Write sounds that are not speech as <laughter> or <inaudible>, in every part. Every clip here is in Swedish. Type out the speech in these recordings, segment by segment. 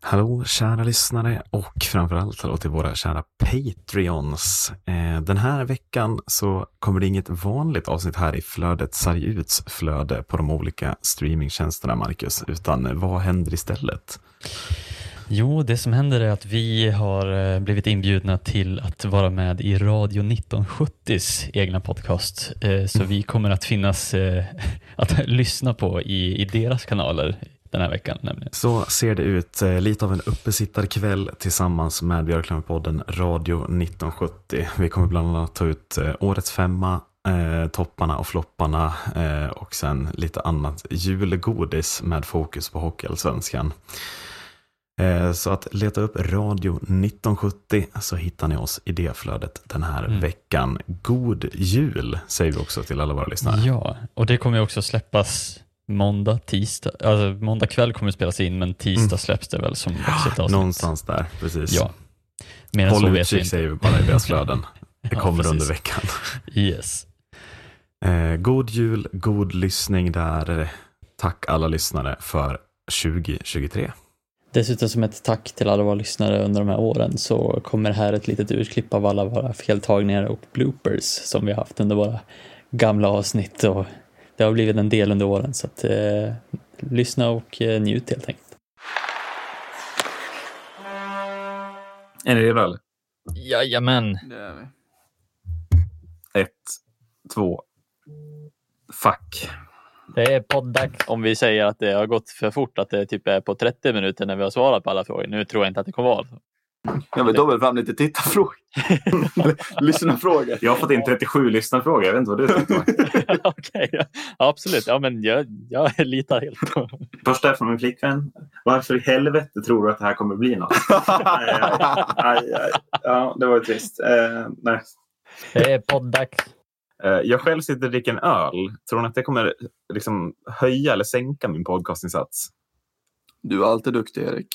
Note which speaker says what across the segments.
Speaker 1: Hallå kära lyssnare och framförallt hallå till våra kära Patreons. Eh, Den här veckan så kommer det inget vanligt avsnitt här i flödet Sarg uts flöde på de olika streamingtjänsterna, Marcus, utan vad händer istället?
Speaker 2: Jo, det som händer är att vi har eh, blivit inbjudna till att vara med i Radio 1970s egna podcast. Eh, Så vi kommer att finnas eh, <laughs> att lyssna på i, i deras kanaler den här veckan nämligen.
Speaker 1: Så ser det ut, eh, lite av en uppesittarkväll tillsammans med Björklövenpodden Radio 1970. Vi kommer bland annat ta ut eh, årets femma, eh, topparna och flopparna eh, och sen lite annat julgodis med fokus på Hockeyallsvenskan. Eh, Så att leta upp Radio 1970 så hittar ni oss i det flödet den här
Speaker 2: Mm.
Speaker 1: veckan. God jul säger vi också till alla våra lyssnare.
Speaker 2: Ja, och det kommer ju också släppas måndag, tisdag. Alltså måndag kväll kommer det spelas in, men tisdag
Speaker 1: Mm.
Speaker 2: släpps det väl som ett avsnitt.
Speaker 1: Någonstans där, precis.
Speaker 2: Ja. Mer än
Speaker 1: Håll
Speaker 2: så vet vi
Speaker 1: utkik
Speaker 2: inte.
Speaker 1: säger vi bara i deras flöden. Det
Speaker 2: Ja,
Speaker 1: kommer under
Speaker 2: precis.
Speaker 1: veckan.
Speaker 2: Yes.
Speaker 1: Eh, god jul, god lyssning där. Tack alla lyssnare för 2023.
Speaker 2: Dessutom som ett tack till alla våra lyssnare under de här åren så kommer här ett litet urklipp av alla våra feltagningar och bloopers som vi har haft under våra gamla avsnitt och det har blivit en del under åren så att eh, lyssna och eh, njut helt enkelt.
Speaker 3: Är ni redo? eller?
Speaker 2: Jajamän!
Speaker 4: Det är vi.
Speaker 3: Ett, två. Fuck.
Speaker 2: Det är poddags. Om vi säger att det har gått för fort, att det typ är på 30 minuter när vi har svarat på alla frågor. Nu tror jag inte att det kommer vara så.
Speaker 3: Jag vill dubbel fram lite tittarfrågor. Lyssnarfrågor. Jag har fått in 37 lyssnarfrågor. Jag vet inte vad du tänkte.
Speaker 5: <laughs>
Speaker 3: Max.
Speaker 2: <laughs> Okej, ja. absolut. Ja, men jag, jag litar helt på
Speaker 5: Första är från min flickvän. Varför i helvete tror du att det här kommer bli något? <laughs> aj, aj, aj, aj. Ja, det var ju trist. Eh, nej.
Speaker 2: Det är poddags.
Speaker 5: Eh, Jag själv sitter och dricker en öl. Tror ni att det kommer liksom höja eller sänka min podcastinsats?
Speaker 4: Du är alltid duktig, Erik.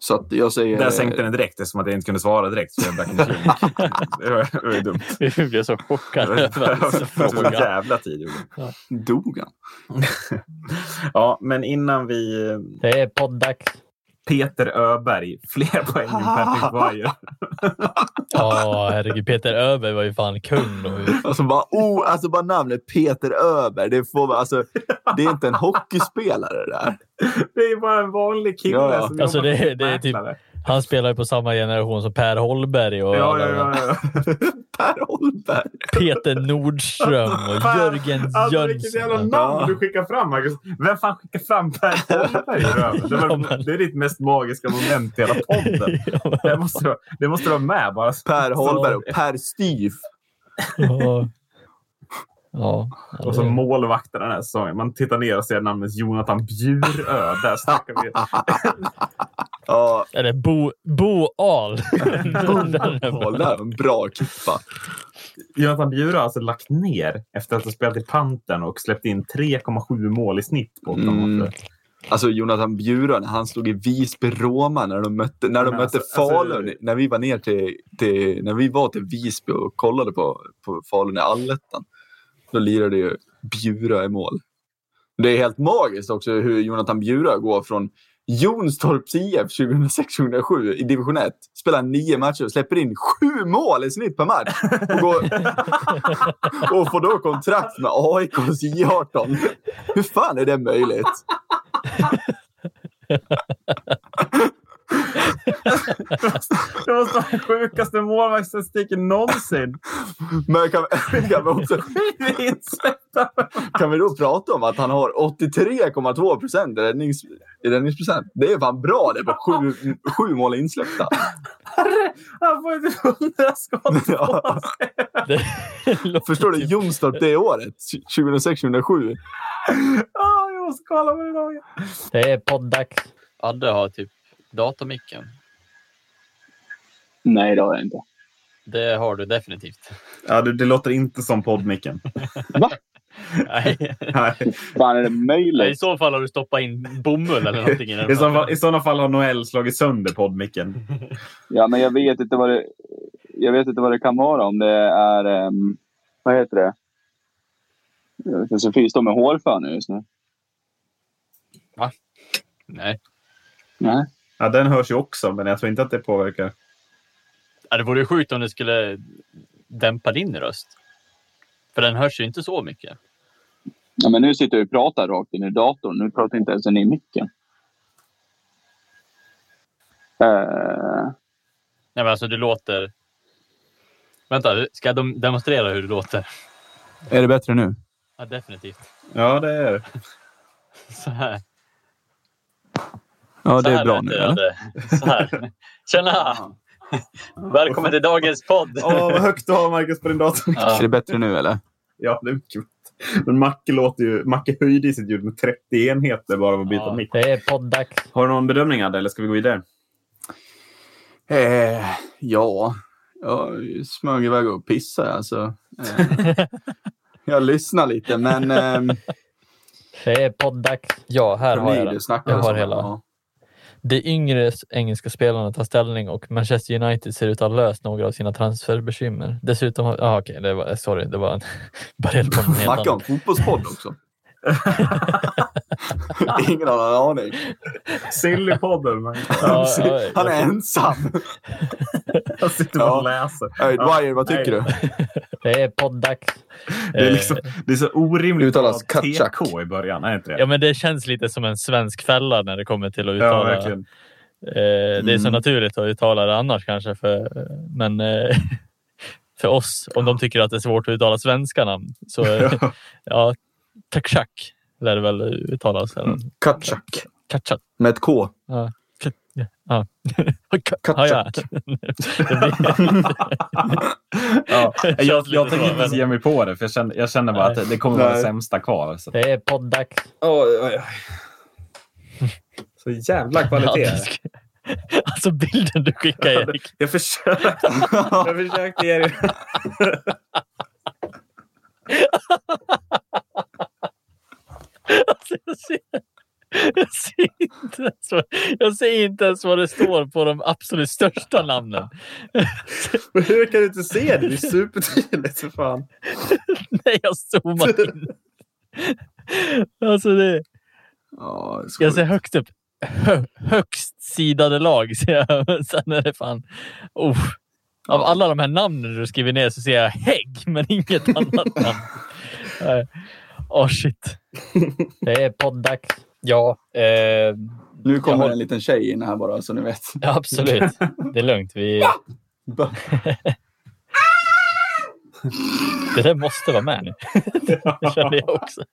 Speaker 4: Så att jag säger...
Speaker 5: Där sänkte den direkt eftersom att jag inte kunde svara direkt. För jag drack en drink. <laughs> det var det var ju dumt.
Speaker 2: <laughs> Vi blev så chockade
Speaker 5: <laughs> Det
Speaker 2: över hans
Speaker 5: var så
Speaker 2: fråga.
Speaker 5: jävla tid. gjorde det.
Speaker 4: Dog han?
Speaker 5: Ja, men innan vi... eh,
Speaker 2: Det är poddags.
Speaker 5: Peter Öberg, fler poäng än Patrick Boyer.
Speaker 2: Ja, herregud. Peter Öberg var ju fan kung då.
Speaker 4: Alltså bara, oh, alltså bara namnet Peter Öberg. Det, får, man- alltså, det är inte en hockeyspelare det där.
Speaker 5: Det är ju bara en vanlig kille.
Speaker 4: Ja, ja.
Speaker 5: som
Speaker 2: Alltså,
Speaker 5: jobbar
Speaker 2: det-
Speaker 5: som
Speaker 2: det är typ-
Speaker 5: mäklare.
Speaker 2: Han spelar ju på samma generation som Per Holberg och
Speaker 5: Ja,
Speaker 2: alla
Speaker 5: ja,
Speaker 2: de här.
Speaker 5: ja,
Speaker 2: <laughs>
Speaker 5: ja.
Speaker 4: Per Holmberg.
Speaker 2: Peter Nordström och
Speaker 5: Fan,
Speaker 2: Jörgen
Speaker 5: Alltså vilket jävla
Speaker 2: Jönsson.
Speaker 5: namn
Speaker 4: Ja.
Speaker 5: du skickar fram Marcus. Vem fan skickar fram Per Holmberg i röven? Det, var- det är ditt mest magiska moment i hela podden. Det måste, du- det måste du ha med bara.
Speaker 4: Per Holmberg och
Speaker 5: Så-
Speaker 4: Per Styf.
Speaker 2: Ja. Ja.
Speaker 5: Och så målvakten den här säsongen. Man tittar ner och ser namnet Jonathan Bjurö. Där snackar vi.
Speaker 4: Ja,
Speaker 2: Eller Bo, Bo Ahl.
Speaker 4: kolla, här, en bra klippa.
Speaker 5: Jonathan Bjurö har alltså lagt ner efter att ha spelat i Pantern och släppt in 3,7 mål i snitt på åtta
Speaker 4: Mm.
Speaker 5: matcher.
Speaker 4: Alltså Jonathan Bjurö, när han stod i Visby-Roma när de mötte, när de
Speaker 5: Men
Speaker 4: mötte
Speaker 5: alltså-
Speaker 4: Falun.
Speaker 5: alltså-
Speaker 4: när vi var ner till, till, när vi var till Visby och kollade på, på Falun i allettan. Då lirade ju Bjurö i mål. Det är helt magiskt också hur Jonathan Bjurö går från Jonstorps IF 2006-2007 i division 1. Spelar nio matcher och släpper in sju mål i snitt per match. Och, går, <laughs> och får då kontrakt med AIKs J18. Hur fan är det möjligt?
Speaker 5: Det måste vara den sjukaste målvaktsstatistiken någonsin. <laughs>
Speaker 4: Men kan, <laughs> kan, vi också,
Speaker 5: Det är insläppta.
Speaker 4: kan vi då prata om att han har 83,2 procent i räddnings, i räddningsprocent? Det är fan bra det på sju, sju mål insläppta. <laughs>
Speaker 5: Han får ju typ 100 skott
Speaker 4: Ja,
Speaker 2: Det låter
Speaker 4: förstår du
Speaker 2: typ-
Speaker 4: Jonstorp det året? 2006-2007.
Speaker 5: Ja, jag måste kolla på det laget.
Speaker 2: Det är poddags. Adde har typ datamicken.
Speaker 6: Nej, det har jag inte.
Speaker 2: Det har du definitivt.
Speaker 5: Ja, det, det låter inte som poddmicken.
Speaker 2: Nej.
Speaker 5: <laughs> Nej.
Speaker 6: Fan, är det
Speaker 2: I
Speaker 6: möjligt?
Speaker 2: så fall har du stoppat in bomull eller någonting i den.
Speaker 5: I, så fall, I sådana fall har Noel slagit sönder poddmicken.
Speaker 6: Ja, men jag vet inte vad det, jag vet inte vad det kan vara om det är... ehm, vad heter det? Jag vet inte, Sofie står med hårfön nu just nu.
Speaker 2: Nej.
Speaker 6: Nej.
Speaker 5: Ja, den hörs ju också, men jag tror inte att det påverkar.
Speaker 7: Ja, det vore ju sjukt om det skulle dämpa din röst. För den hörs ju inte så mycket.
Speaker 6: Ja, men nu sitter jag och pratar rakt in i datorn. Nu pratar jag inte ens in i micken. Eh,
Speaker 7: Nej, men alltså du låter... Vänta, ska jag dem- demonstrera hur du låter?
Speaker 4: Är det bättre nu?
Speaker 7: Ja, definitivt.
Speaker 5: Ja, det är det.
Speaker 7: Så här.
Speaker 4: Ja,
Speaker 7: så
Speaker 4: det
Speaker 7: här
Speaker 4: är bra
Speaker 7: lät
Speaker 4: nu.
Speaker 7: det,
Speaker 4: Eller?
Speaker 7: Adde. Så här. Tjena! Välkommen till dagens podd!
Speaker 5: Åh, vad högt du har, Marcus, på din dator.
Speaker 4: Är
Speaker 7: Ja.
Speaker 4: det bättre nu eller?
Speaker 5: Ja, det är kul. Men Macke, låter ju, Macke höjde i sitt ljud med 30 enheter bara av att byta mick.
Speaker 8: Det är poddags.
Speaker 5: Har du någon bedömning, Adde, eller ska vi gå vidare?
Speaker 4: Eh, ja, jag smög iväg och pissade. Alltså. Eh, jag lyssnar lite, men ehm,
Speaker 2: Det är poddags.
Speaker 8: Ja, här har jag
Speaker 4: ni
Speaker 8: den.
Speaker 4: det snackades
Speaker 2: Jag har
Speaker 4: om.
Speaker 2: hela.
Speaker 4: Ja.
Speaker 2: De yngre engelska spelarna tar ställning och Manchester United ser ut att ha löst några av sina transferbekymmer. Dessutom har... Ah, okej, det var, sorry, det var en... <laughs> Bara helt på en helt
Speaker 4: Snacka
Speaker 2: annan.
Speaker 4: om
Speaker 2: <laughs>
Speaker 4: fotbollspodd också. Ingen har någon aning.
Speaker 5: Sillypodden. men-
Speaker 2: Ja, ja,
Speaker 4: Han
Speaker 2: jag-
Speaker 4: är ensam.
Speaker 5: Jag sitter bara och
Speaker 4: Ja.
Speaker 5: läser.
Speaker 4: Hey, Dwyer, vad tycker
Speaker 5: Nej.
Speaker 4: du?
Speaker 2: Det är poddags.
Speaker 5: Det är,
Speaker 2: Eh,
Speaker 5: liksom, det är så orimligt
Speaker 4: Det uttalas
Speaker 5: att ha
Speaker 4: Katschak.
Speaker 5: TK i början. Är det inte det?
Speaker 2: Eh, Ja, men det känns lite som en svensk fälla när det kommer till att
Speaker 5: Ja,
Speaker 2: uttala.
Speaker 5: verkligen.
Speaker 2: eh, det är så
Speaker 4: Mm.
Speaker 2: naturligt att uttala det annars kanske, för, men eh, <laughs> för oss, om de tycker att det är svårt att uttala svenska namn, så eh, ja, Kakshak lär det väl uttalas. eller?
Speaker 4: Katschak.
Speaker 2: Katschak.
Speaker 4: Med ett K.
Speaker 2: Ja. Ja, ja.
Speaker 4: Katschak.
Speaker 2: <laughs> Det blir-
Speaker 5: <laughs> Ja.
Speaker 2: Det
Speaker 5: Jag,
Speaker 2: känns lite
Speaker 5: jag tänker
Speaker 2: så,
Speaker 5: inte ens
Speaker 2: men-
Speaker 5: ge mig på det, för jag känner, jag känner bara
Speaker 2: Nej.
Speaker 5: att det kommer vara det
Speaker 4: Nej.
Speaker 5: sämsta kvar. Så,
Speaker 2: Det är poddags.
Speaker 5: oj, oj, oj. så jävla kvalitet.
Speaker 2: Alltså bilden du skickar, Erik.
Speaker 5: Jag försökte, <laughs> jag försökte ge dig...
Speaker 2: <laughs> Alltså, jag, ser, jag, ser inte ens vad, jag ser inte ens vad det står på de absolut största namnen.
Speaker 5: Men Hur kan du inte se det? Det är supertydligt. För fan.
Speaker 2: Nej, jag <laughs> zoomar in. Alltså det,
Speaker 4: Ja, det är
Speaker 2: jag
Speaker 4: skoj.
Speaker 2: ser högt upp. Hö, högst sidade lag ser jag. <laughs> Men Sen är det fan... Oh. Av alla de här namnen du skriver ner så ser jag Hägg, men inget annat <laughs> namn. Nej. Åh shit. Det är poddags. Ja, eh,
Speaker 4: nu
Speaker 2: jag
Speaker 4: kommer
Speaker 2: har-
Speaker 4: en liten tjej in här bara, så ni vet. <laughs>
Speaker 2: ja, absolut. Det är lugnt. Vi, det där måste vara <laughs> med nu. Det kände jag också.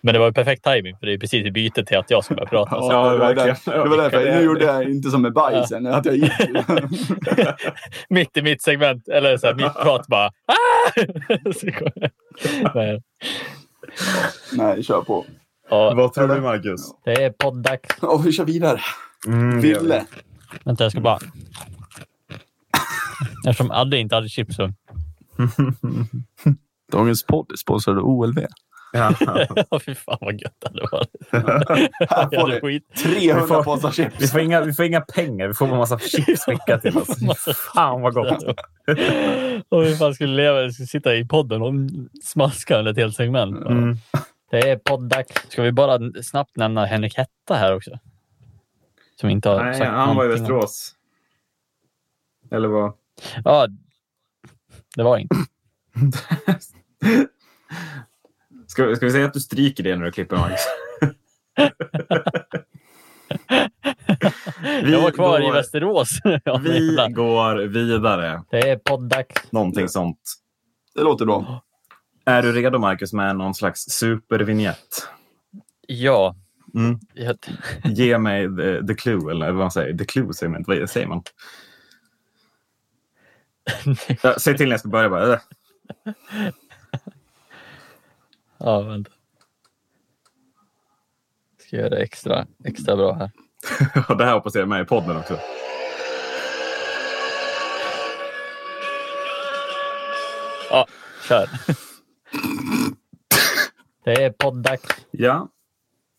Speaker 2: Men det var ju perfekt timing för det är precis i bytet till att jag ska börja prata.
Speaker 5: Ja,
Speaker 4: det, var
Speaker 5: verkligen.
Speaker 4: där, det var därför. Nu gjorde jag inte som med bajsen. Att jag
Speaker 5: <laughs>
Speaker 4: gick.
Speaker 2: mitt i mitt segment, eller så här,
Speaker 5: <laughs>
Speaker 2: mitt prat bara... "Ah!" <laughs> Så kom jag. Men,
Speaker 4: Nej, kör på.
Speaker 2: ja,
Speaker 5: Vad tror du, Marcus?
Speaker 2: det är poddags.
Speaker 4: Och vi kör vidare.
Speaker 5: Mm, det gör vi.
Speaker 4: Ville.
Speaker 2: Vänta, jag ska bara... Eftersom Adde inte hade chips så... <laughs>
Speaker 4: Dagens podd är sponsrad av OLV.
Speaker 5: Ja.
Speaker 2: Ja, fy fan vad gött det hade varit.
Speaker 4: Här
Speaker 2: Jag
Speaker 4: får
Speaker 2: hade
Speaker 4: ni
Speaker 2: skit.
Speaker 4: 300 påsar chips.
Speaker 5: Vi, får inga, vi får inga pengar. Vi får en massa chips skickat till
Speaker 2: <laughs>
Speaker 5: oss.
Speaker 2: Massa
Speaker 5: Fan, vad gott. <laughs>
Speaker 2: Om vi fan skulle leva, jag skulle sitta i podden och smaska under ett helt segment. bara.
Speaker 5: Mm.
Speaker 2: Det är poddags. Ska vi bara snabbt nämna Henrik Hetta här också? Som inte har
Speaker 5: Nej,
Speaker 2: sagt
Speaker 5: han var i
Speaker 2: någonting.
Speaker 5: Västerås. Eller vad?
Speaker 2: Ja, det var inte.
Speaker 5: Ska, ska vi säga att du stryker det när du
Speaker 2: <laughs>
Speaker 5: klipper, Max? Vi
Speaker 2: jag var kvar
Speaker 5: går-
Speaker 2: i Västerås. <laughs> Ja, men
Speaker 5: Vi
Speaker 2: jävlar.
Speaker 5: går vidare.
Speaker 2: Det är poddags.
Speaker 5: Någonting sånt.
Speaker 4: Det låter bra.
Speaker 5: Är du redo, Marcus, med någon slags supervinjett?
Speaker 2: Ja.
Speaker 5: Mm.
Speaker 2: Jag,
Speaker 5: Ge mig the, the clue, eller vad man säger. The clue säger man inte. Vad säger man? Ja, <laughs> Säg till när jag ska börja. Bara. "Äh,
Speaker 2: ja, vänta. Ska göra det extra, extra bra här.
Speaker 5: Och det här hoppas jag är med i podden också.
Speaker 2: Ja, kör. Det är poddags.
Speaker 5: Ja.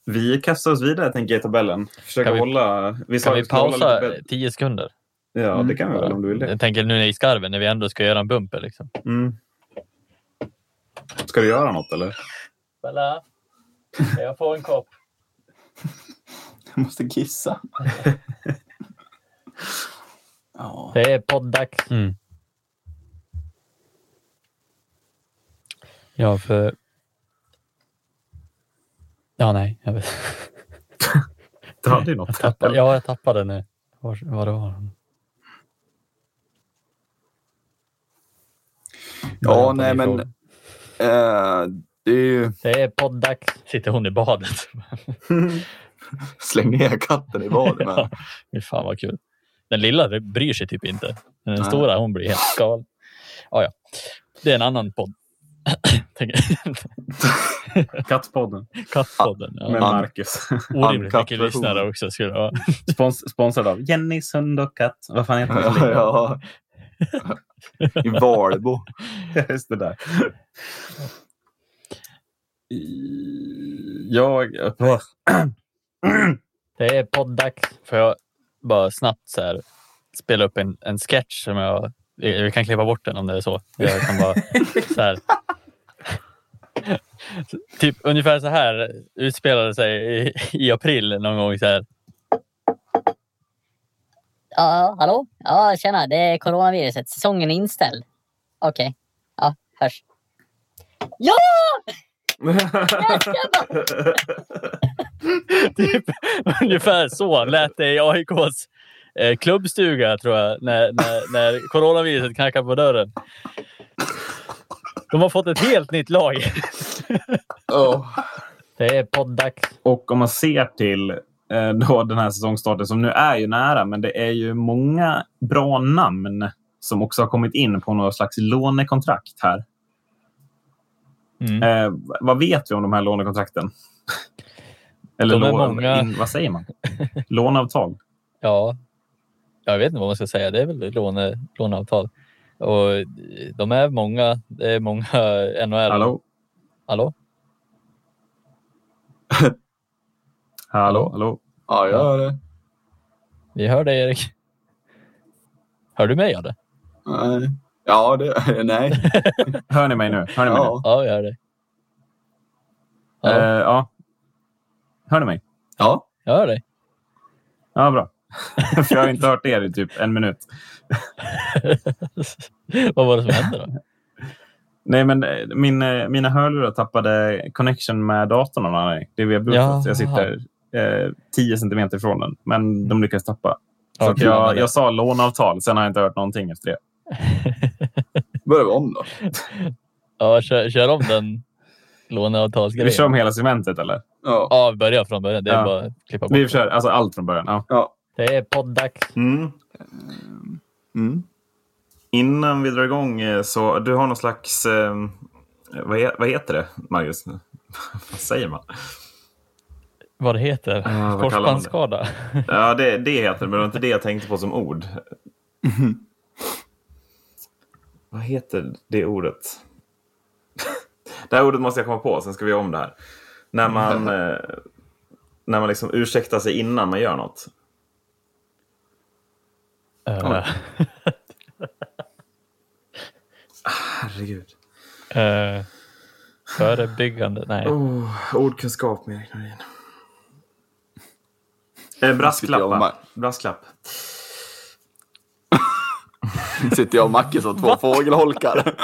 Speaker 5: Vi kastar oss vidare, tänker jag, i tabellen. Försöka
Speaker 2: Kan vi-
Speaker 5: hålla... Vi Mm. sa
Speaker 2: Kan
Speaker 5: att
Speaker 2: vi
Speaker 5: skulle hålla
Speaker 2: pausa
Speaker 5: lite bäl-
Speaker 2: tio sekunder?
Speaker 5: Ja, det kan vi väl om du vill det.
Speaker 2: Jag tänker nu i skarven när vi ändå ska göra en bumper. Liksom.
Speaker 5: Mm. Ska du göra något, eller?
Speaker 2: Bella, jag får en kopp?
Speaker 4: Jag måste kissa. ja.
Speaker 2: Det är poddags.
Speaker 8: Mm.
Speaker 2: Ja, för... Ja, nej. Jag, vet.
Speaker 5: Du hade ju något.
Speaker 2: jag, tappade, ja, jag tappade nu. Var, vad det var.
Speaker 4: Ja, nej men. Eh, det är ju...
Speaker 2: Det är poddags. Sitter hon i badet? <laughs>
Speaker 4: Släng ner katten i <laughs> badet. men-
Speaker 2: Ja, fy fan vad kul. Den lilla det bryr sig typ inte. Men den
Speaker 4: Nej.
Speaker 2: stora hon blir helt galen. Ja, ja. Det är en annan podd. <clears throat> Tänker-
Speaker 5: Kattpodden
Speaker 2: Kattpodden.
Speaker 5: med
Speaker 2: Ja.
Speaker 4: Ann-
Speaker 5: Marcus.
Speaker 2: Orimligt mycket
Speaker 4: Uncut-version.
Speaker 2: lyssnare också. Skulle det vara.
Speaker 5: Spons, sponsrad av Jenny Sund och Katt. Vad <laughs> fan heter den?
Speaker 4: ja. I Valbo.
Speaker 5: <laughs> Just det där. Jag...
Speaker 2: <laughs> Det är poddags. Får jag bara snabbt så här, spela upp en, en sketch som jag... Vi kan klippa bort den om det är så. Jag kan bara, så här. <laughs> Typ ungefär så här utspelade sig i, i april någon gång. Så här. <laughs>
Speaker 9: Ja, hallå? Ja, tjena. Det är coronaviruset. Säsongen är inställd. Okej. Ja, hörs. Ja!
Speaker 2: Typ, ungefär så lät det i AIKs eh, klubbstuga, tror jag, när, när, när coronaviruset knackade på dörren. De har fått ett helt nytt lag.
Speaker 4: Oh.
Speaker 2: Det är poddags.
Speaker 5: Och om man ser till eh, då den här säsongstarten som nu är ju nära, men det är ju många bra namn som också har kommit in på något slags lånekontrakt här.
Speaker 2: Mm.
Speaker 5: Eh, vad vet vi om de här lånekontrakten? Eller
Speaker 2: De är
Speaker 5: lån,
Speaker 2: många.
Speaker 5: in, vad säger man? Låneavtal.
Speaker 2: Ja, jag vet inte vad man ska säga. Det är väl låne, låneavtal. Och eh, de är många. Det är många <laughs> NHL.
Speaker 5: Hallå?
Speaker 2: Hallå?
Speaker 5: Hallå? Hallå?
Speaker 4: Ja, jag hör det.
Speaker 2: Vi hör dig, Erik. Hör du mig, Adde?
Speaker 4: Nej. Ja, det... Nej.
Speaker 5: Hör ni mig nu? Hör ni mig
Speaker 4: Ja.
Speaker 2: Ja, jag hör dig. Ja,
Speaker 5: nu? Eh, ja. Hör ni mig?
Speaker 4: ja.
Speaker 2: jag hör dig.
Speaker 5: Ja, bra. <laughs> För jag har inte hört er i typ en minut.
Speaker 2: vad var det som hände då?
Speaker 5: Nej, men eh, min, eh, mina hörlurar tappade connection med datorn av någon anledning. Det är via
Speaker 2: Jaha.
Speaker 5: Bluetooth. Jag sitter eh, 10 centimeter ifrån den, men de lyckades tappa. Så att
Speaker 2: Okej, men
Speaker 5: jag,
Speaker 2: det-
Speaker 5: jag sa låneavtal, sen har jag inte hört någonting efter det.
Speaker 4: Börjar vi om då.
Speaker 2: Ja, kör, kör om den
Speaker 5: Vi kör
Speaker 2: låneavtalsgrejen.
Speaker 5: om hela segmentet, eller?
Speaker 4: Ja.
Speaker 2: Ja, vi börjar från början. Det är
Speaker 5: Ja.
Speaker 2: bara att klippa bort.
Speaker 5: Vi kör alltså allt från början. Ja.
Speaker 4: ja.
Speaker 2: Det är poddags.
Speaker 5: Mm.
Speaker 4: Mm.
Speaker 5: Innan vi drar igång, eh, så du har någon slags... Eh, vad, he, vad heter det, Marcus? <laughs> vad säger man?
Speaker 2: Vad det heter?
Speaker 5: kallar man det?
Speaker 2: Korsbandsskada.
Speaker 5: Ja, det, det heter det, men det var inte det jag tänkte på som <laughs> ord. Vad heter det ordet? <laughs> Det här ordet måste jag komma på, sen ska vi göra om det här. När <laughs> man, eh, när man liksom ursäktar sig innan man gör något.
Speaker 2: Eh,
Speaker 5: Herregud.
Speaker 2: eh, förebyggande.
Speaker 5: <laughs>
Speaker 2: Nej.
Speaker 5: Oh, ordkunskap med Erik Norin. <laughs> Eh,
Speaker 4: Sitter jag och
Speaker 5: brasklapp, va?
Speaker 4: Mar-
Speaker 5: Brasklapp.
Speaker 4: Sitter jag och Macke som två fågelholkar.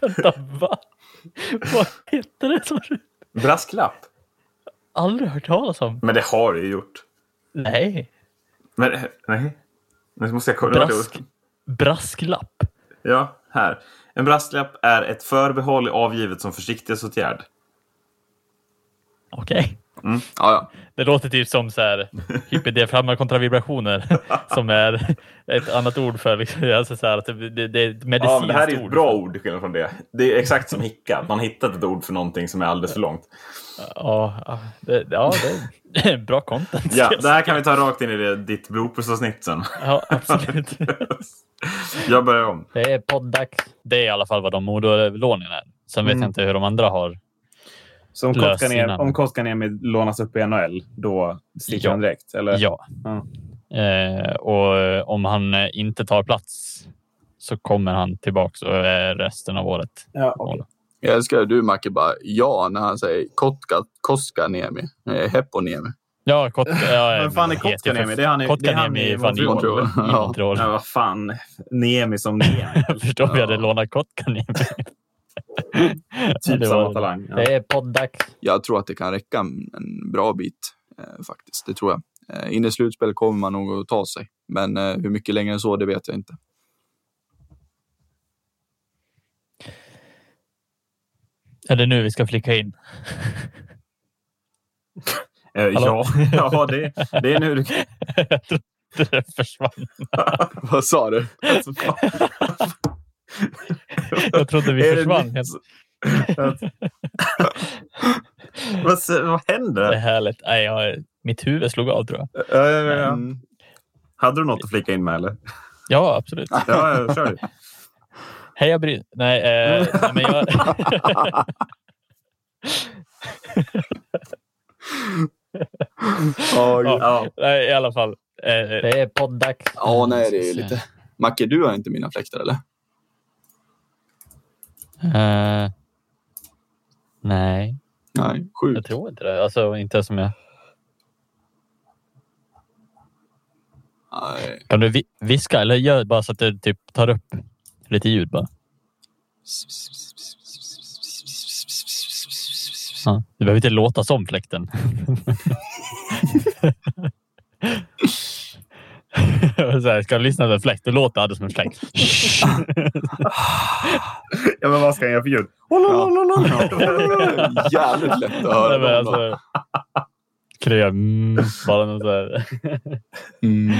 Speaker 2: Vänta, va? Vad heter det? Som du
Speaker 5: Brasklapp?
Speaker 2: aldrig hört talas om?
Speaker 5: Men det har du ju gjort.
Speaker 2: Nej.
Speaker 5: Men, eh, nej. Nu måste jag kolla.
Speaker 2: Brask, brasklapp.
Speaker 5: Ja, här. En brasklapp är ett förbehåll avgivet som försiktighetsåtgärd.
Speaker 2: Okej.
Speaker 4: Ja, ja.
Speaker 2: Det låter typ som så här hyperdiafragma kontra
Speaker 5: <laughs>
Speaker 2: vibrationer som är ett annat ord för liksom, <laughs> alltså så här, att det, det, det är ett medicinskt
Speaker 5: Ja, men det här är ju
Speaker 2: ord.
Speaker 5: ett bra ord till skillnad från det. Det är exakt som hicka, att man har hittat ett ord för någonting som är alldeles för långt.
Speaker 2: Ja, ja, det, ja, det är <laughs> bra content.
Speaker 5: Ja, det här kan vi ta rakt in i det, ditt bloopers-avsnitt sen.
Speaker 2: ja,
Speaker 5: <laughs>
Speaker 2: absolut.
Speaker 5: Jag börjar om.
Speaker 2: Det är poddags. Det är i alla fall vad de modolånen är. Sen vet
Speaker 5: Mm.
Speaker 2: jag inte hur de andra har.
Speaker 5: Så om
Speaker 2: Lös
Speaker 5: Kotkaniemi
Speaker 2: innan.
Speaker 5: om Kotkaniemi lånas upp i NHL, då sticker
Speaker 2: Ja.
Speaker 5: han direkt? Eller?
Speaker 2: Ja.
Speaker 5: Ja.
Speaker 2: Eh, och eh, om han eh, inte tar plats så kommer han tillbaka och är resten av året.
Speaker 5: Ja,
Speaker 2: okej.
Speaker 4: Jag älskar hur du Macke bara ja när han säger Kotka, Koskaniemi. Eh, Hepponiemi.
Speaker 2: Ja, Kot... Ja,
Speaker 5: Vem fan är Kotkaniemi? Det är han i- det är han i Montreal.
Speaker 2: i Montreal.
Speaker 5: Ja, vad fan. Niemi som <laughs> Typ Niemi.
Speaker 2: Jag förstår om vi hade lånat Kotkaniemi.
Speaker 5: Typ
Speaker 2: Det
Speaker 5: samma
Speaker 2: var-
Speaker 5: talang. Ja.
Speaker 2: Det är podd-dags.
Speaker 4: Jag tror att det kan räcka en- en bra bit eh, faktiskt. Det tror jag. Eh, in i slutspel kommer man nog att ta sig, men eh, hur mycket längre än så, det vet jag inte. <laughs>
Speaker 2: Är det nu vi ska flicka in? <laughs>
Speaker 5: Eh, ja,
Speaker 2: Hallå?
Speaker 5: <laughs> ja det, det är nu <laughs> du kan...
Speaker 2: Jag trodde det försvann.
Speaker 4: Vad sa du?
Speaker 5: Alltså, fan.
Speaker 2: Jag trodde vi
Speaker 5: Är det
Speaker 2: försvann.
Speaker 5: nytt? vad, s- vad
Speaker 2: Det är
Speaker 5: händer?
Speaker 2: härligt. Nej, jag, mitt huvud slog av tror jag.
Speaker 5: Ja, ja, ja.
Speaker 4: Mm.
Speaker 5: Hade du något att flika in med eller?
Speaker 2: Ja, absolut.
Speaker 5: Ja, ja, kör du.
Speaker 2: Hej, jag bryr Nej,
Speaker 5: <laughs>
Speaker 2: eh, nej, men jag... <laughs>
Speaker 4: Ja, gud.
Speaker 5: Ja,
Speaker 2: nej, i alla fall. Eh,
Speaker 8: Det är podd-dags.
Speaker 4: Ja, nej, det är ju lite. Macke, du har inte mina fläktar eller?
Speaker 8: Eh, nej,
Speaker 4: Nej, sju.
Speaker 2: jag tror inte det. Alltså, inte som jag...
Speaker 4: Nej.
Speaker 2: Kan du vi- viska eller gör bara så att du typ tar upp lite ljud bara? Ja. Du behöver inte låta som fläkten. <laughs> så här, ska du lyssna på en fläkt? Då låter det som en fläkt.
Speaker 5: ja men vad ska jag göra för ljud?
Speaker 4: Ja. <laughs> Jävligt lätt att höra.
Speaker 2: Nej, men
Speaker 4: dem då.
Speaker 2: alltså, kan du göra mm, bara något så här?
Speaker 4: Mm.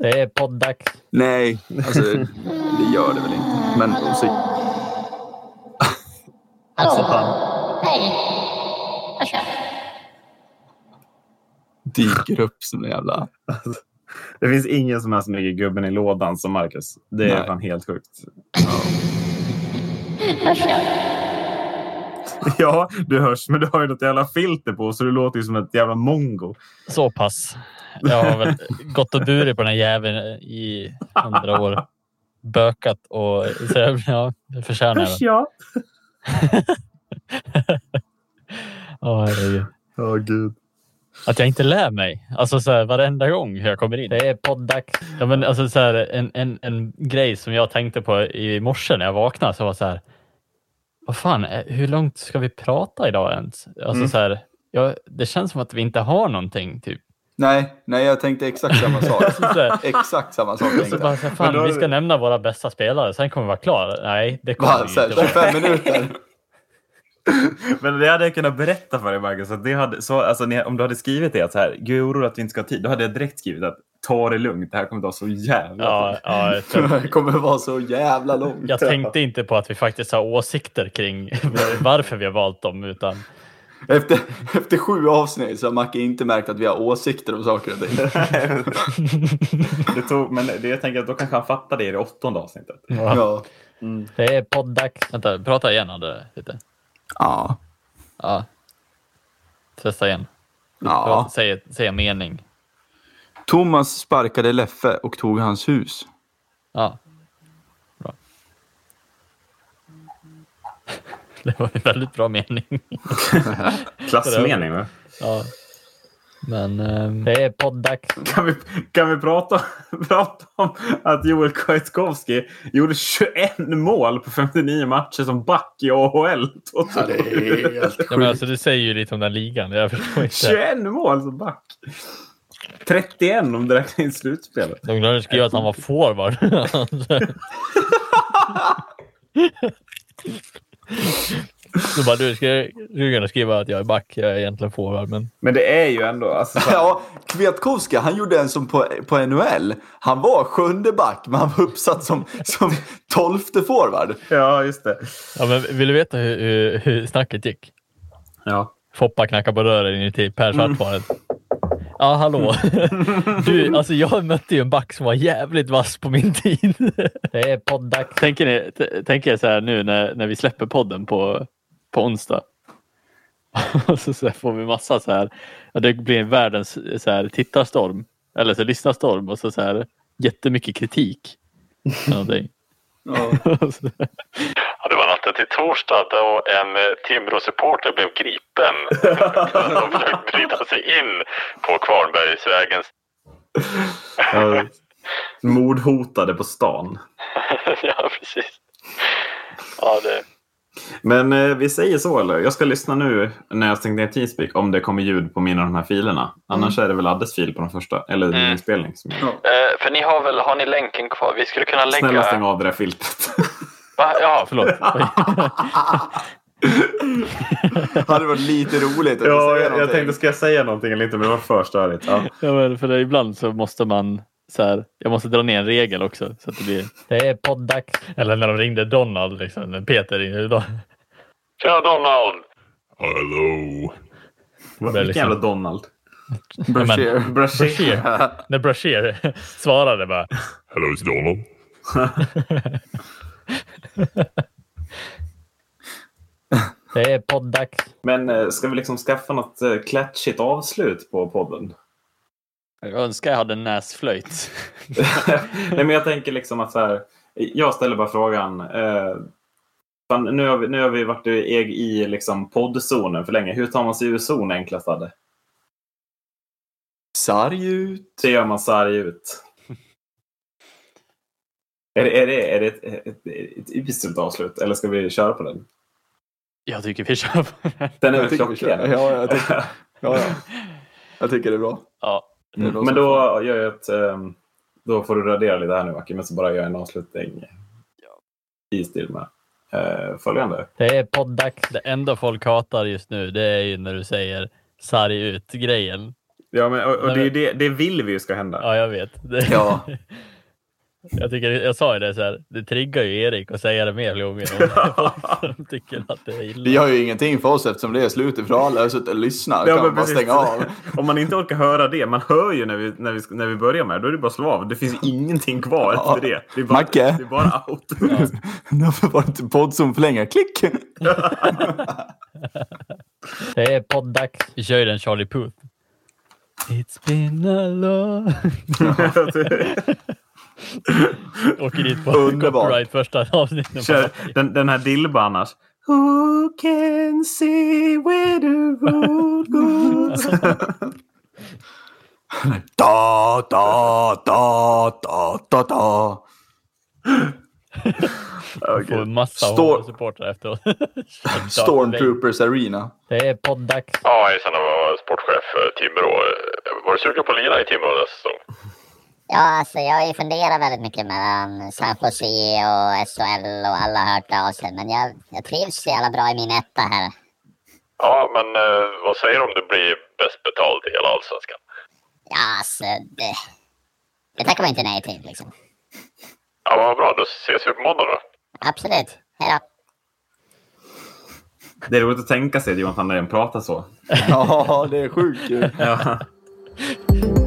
Speaker 8: det är podd-dags.
Speaker 4: Nej, alltså, det gör det väl inte. Men så,
Speaker 9: Alltså,
Speaker 2: Fan.
Speaker 9: hej! Jag kör.
Speaker 4: dyker upp som en jävla...
Speaker 5: Det finns ingen som är så mycket gubben i lådan som Marcus. Det är
Speaker 4: Nej.
Speaker 5: fan helt sjukt.
Speaker 9: Jag kör.
Speaker 5: Ja, du hörs, men du har ju något jävla filter på så du låter ju som ett jävla mongo.
Speaker 2: Så pass. Jag har väl gått och burit på den här jäveln i hundra år. Bökat och så jag, ja, jag förtjänar den.
Speaker 5: ja.
Speaker 2: Åh, herregud.
Speaker 5: Åh gud.
Speaker 2: att jag inte lär mig. Alltså så här, varenda gång jag kommer in.
Speaker 8: Det är podd-dags.
Speaker 2: Ja, men alltså så här, en, en, en grej som jag tänkte på i morse när jag vaknade så var så här. Vad fan, eh, hur långt ska vi prata idag ens? Alltså
Speaker 5: Mm.
Speaker 2: så här, ja, det känns som att vi inte har någonting. Typ.
Speaker 4: Nej, nej, jag tänkte exakt samma
Speaker 2: <laughs>
Speaker 4: sak.
Speaker 2: Så här,
Speaker 4: Exakt samma sak tänkte
Speaker 2: så
Speaker 4: jag.
Speaker 2: bara, så här,
Speaker 5: Men då
Speaker 2: fan,
Speaker 5: har
Speaker 2: vi
Speaker 5: du-
Speaker 2: ska nämna våra bästa spelare, sen kommer vi vara klara. Nej, det kommer
Speaker 4: Bara,
Speaker 2: vi
Speaker 4: så här,
Speaker 2: inte vara.
Speaker 4: 25 minuter.
Speaker 5: Men det hade jag kunnat berätta för dig Marcus. Att det hade, så, alltså, ni, om du hade skrivit det att så här, gud jag är orolig att vi inte ska ha tid. Då hade jag direkt skrivit att ta det lugnt, det här kommer ta så jävla
Speaker 2: Ja, ja,
Speaker 4: <laughs>
Speaker 2: jag tror-
Speaker 4: Det kommer vara så jävla långt.
Speaker 2: jag tänkte inte på att vi faktiskt har åsikter kring varför vi har valt dem. Utan,
Speaker 4: Efter, efter sju avsnitt så har Macke inte märkt att vi har åsikter om saker och ting.
Speaker 5: det tog, men det, jag tänker att då kanske han fattar det i det åttonde avsnittet.
Speaker 4: Ja.
Speaker 2: det är podd-dags. Vänta, prata igen André. Lite.
Speaker 4: Ja.
Speaker 2: Ja. Testa igen.
Speaker 4: ja.
Speaker 2: Säg, säg en mening.
Speaker 4: Thomas sparkade Leffe och tog hans hus.
Speaker 2: Ja. Bra. <laughs> Det var en väldigt bra mening.
Speaker 5: Klassmening va?
Speaker 2: Ja. Men ehm, det är podd-dags.
Speaker 5: Kan vi, kan vi prata, prata om <laughs> att Joel Kwiatkowski gjorde 21 mål på 59 matcher som back i AHL?
Speaker 2: Ja, men alltså, det säger ju lite om den ligan. Jag förstår inte.
Speaker 5: 21 mål som back! 31 om du räknar in slutspelet.
Speaker 2: De glömde skriva att han var forward. Så bara, du, ska du kunna skriva att jag är back? Jag är egentligen forward, men...
Speaker 5: Men det är ju ändå... Alltså, så här-
Speaker 4: Ja, Kwiatkowska, han gjorde en som på, på NHL. Han var sjunde back, men han var uppsatt som, som tolfte forward.
Speaker 5: <laughs> ja, just det.
Speaker 2: Ja, men vill du veta hur, hur, hur snacket gick?
Speaker 5: Ja.
Speaker 2: Foppa knackar på dörren inuti typ Per
Speaker 7: Mm.
Speaker 2: Svartvaret.
Speaker 7: <laughs>
Speaker 2: Ja, hallå. Du, alltså jag mötte ju en back som var jävligt vass på min tid.
Speaker 8: Det är podd-dags.
Speaker 7: Tänker, ni, t- tänker jag så här nu när, när vi släpper podden på, på onsdag. <laughs> Och så, så här får vi massa så här. Ja, det blir världens så här, tittarstorm. Eller så här, lyssnarstorm och så, så här
Speaker 2: <laughs>
Speaker 7: jättemycket kritik. Eller någonting.
Speaker 4: Ja.
Speaker 7: <laughs> Och så-
Speaker 10: Ja, det var något efter till torsdag då en eh, Timrå-supporter blev
Speaker 5: <laughs>
Speaker 10: gripen. De försökte bryta sig in på Kvarnbergsvägen. <laughs>
Speaker 5: Ja. Mordhotade på stan.
Speaker 10: ja, precis. Ja, det...
Speaker 5: Men eh, vi säger så eller? Jag ska lyssna nu när jag stängt ner Teamspeak om det kommer ljud på mina av de här filerna. Annars är det väl Addes fil på den första, eller
Speaker 10: Mm.
Speaker 5: din inspelning. Som jag...
Speaker 10: Eh, för ni har väl, har ni länken kvar? Vi skulle kunna lägga...
Speaker 5: Snälla stäng av det där filtret.
Speaker 10: Va? Ja, <laughs>
Speaker 5: Förlåt.
Speaker 4: hade varit lite roligt att
Speaker 5: ja,
Speaker 4: säga
Speaker 5: jag, jag
Speaker 4: någonting.
Speaker 5: tänkte, ska jag säga någonting eller inte? Men det var för störigt. Ja.
Speaker 7: Ja, men för det, ibland så måste man så här, jag måste dra ner en regel också så att det blir...
Speaker 2: Det är poddags. Eller när de ringde Donald, liksom. när Peter ringde Donald.
Speaker 10: Tja Donald!
Speaker 5: Hallå!
Speaker 2: Det är
Speaker 5: Vilken
Speaker 2: liksom-
Speaker 5: jävla Donald.
Speaker 2: Ja,
Speaker 11: <laughs>
Speaker 2: men- Brashear. När Brashear <laughs> svarade bara.
Speaker 11: Hello, it's Donald.
Speaker 2: <laughs> Det är poddags.
Speaker 5: Men eh, ska vi liksom skaffa något eh, klatschigt avslut på podden? <laughs>
Speaker 7: Jag önskar jag hade en
Speaker 2: <laughs>
Speaker 7: näsflöjt.
Speaker 5: Nej, men jag tänker liksom att så här, jag ställer bara frågan. Eh, fan, nu, har vi, nu har vi varit i, i liksom poddzonen för länge. Hur tar man sig ur zon enklast? Adde?
Speaker 4: Sarg ut.
Speaker 5: Det gör man sarg ut. är, det, är, det, är det ett, ett, ett uselt avslut eller ska vi köra på den?
Speaker 7: Jag tycker vi kör på den.
Speaker 5: Den är väl
Speaker 4: Jag tycker vi kör.
Speaker 5: klockren?
Speaker 4: Ja, jag tycker,
Speaker 5: <laughs>
Speaker 4: ja, ja. jag tycker det är bra.
Speaker 7: Ja.
Speaker 4: Det är bra
Speaker 5: Men
Speaker 4: som
Speaker 5: då gör jag ett... ehm, Då får du radera lite här nu Aki, men så bara gör jag en avslutning i stil med eh, följande.
Speaker 2: Det är poddags. Det enda folk hatar just nu det är ju när du säger sarg ut-grejen.
Speaker 5: Ja, men, och,
Speaker 2: Nej,
Speaker 5: och det, är ju det, det vill vi ju ska hända.
Speaker 2: Ja, jag vet. Det...
Speaker 5: Ja.
Speaker 2: <laughs> Jag, tycker, jag sa ju det så här, det triggar ju Erik att säga det mer flera gånger. om det är
Speaker 7: <laughs>
Speaker 2: folk som tycker att det är illa.
Speaker 4: Det gör ju ingenting för oss eftersom det är slutet för alla har suttit och lyssnat. kan
Speaker 5: Ja, men
Speaker 4: man bara
Speaker 5: precis.
Speaker 4: stänga av.
Speaker 5: <laughs> Om man inte orkar höra det, man hör ju när vi, när vi, när vi börjar med det, då är det bara att slå av. Det finns ingenting kvar
Speaker 4: Ja.
Speaker 5: efter det. Det är bara,
Speaker 4: Macke?
Speaker 5: Det är bara out.
Speaker 4: <laughs> Nu har vi varit i poddzon för länge. <laughs> Klick!
Speaker 2: Det är poddags. Vi kör ju den Charlie Puth. It's been a long... Åker dit på
Speaker 5: <laughs> Underbart.
Speaker 2: copyright första avsnittet.
Speaker 5: Kör den, den här Dilba annars.
Speaker 12: Who can see where the road goes?
Speaker 4: <laughs> Da, da, da, da, da, da. <laughs>
Speaker 2: Får en massa
Speaker 4: Stor-
Speaker 2: supportrar <laughs> efteråt.
Speaker 4: Stormtroopers Arena.
Speaker 2: Det är poddags.
Speaker 10: Ja, hejsan, det var sportchef eh, Timrå. Eh, Var du sugen på att lira i Timrå nästa säsong?
Speaker 13: Ja, alltså jag har ju funderat väldigt mycket mellan San Jose och SHL och alla har hört av sig. Men jag, jag trivs så jävla bra i min etta här.
Speaker 10: Ja, men eh, vad säger du om du blir bäst betald i hela Allsvenskan?
Speaker 13: Ja, alltså det, det tackar man inte nej till liksom.
Speaker 10: Ja, vad bra. Då ses vi på måndag då.
Speaker 13: Absolut. Hej då.
Speaker 5: Det är roligt att tänka sig att Jonathan Dahlén pratar så.
Speaker 4: Ja, det är sjukt kul.
Speaker 5: Ja.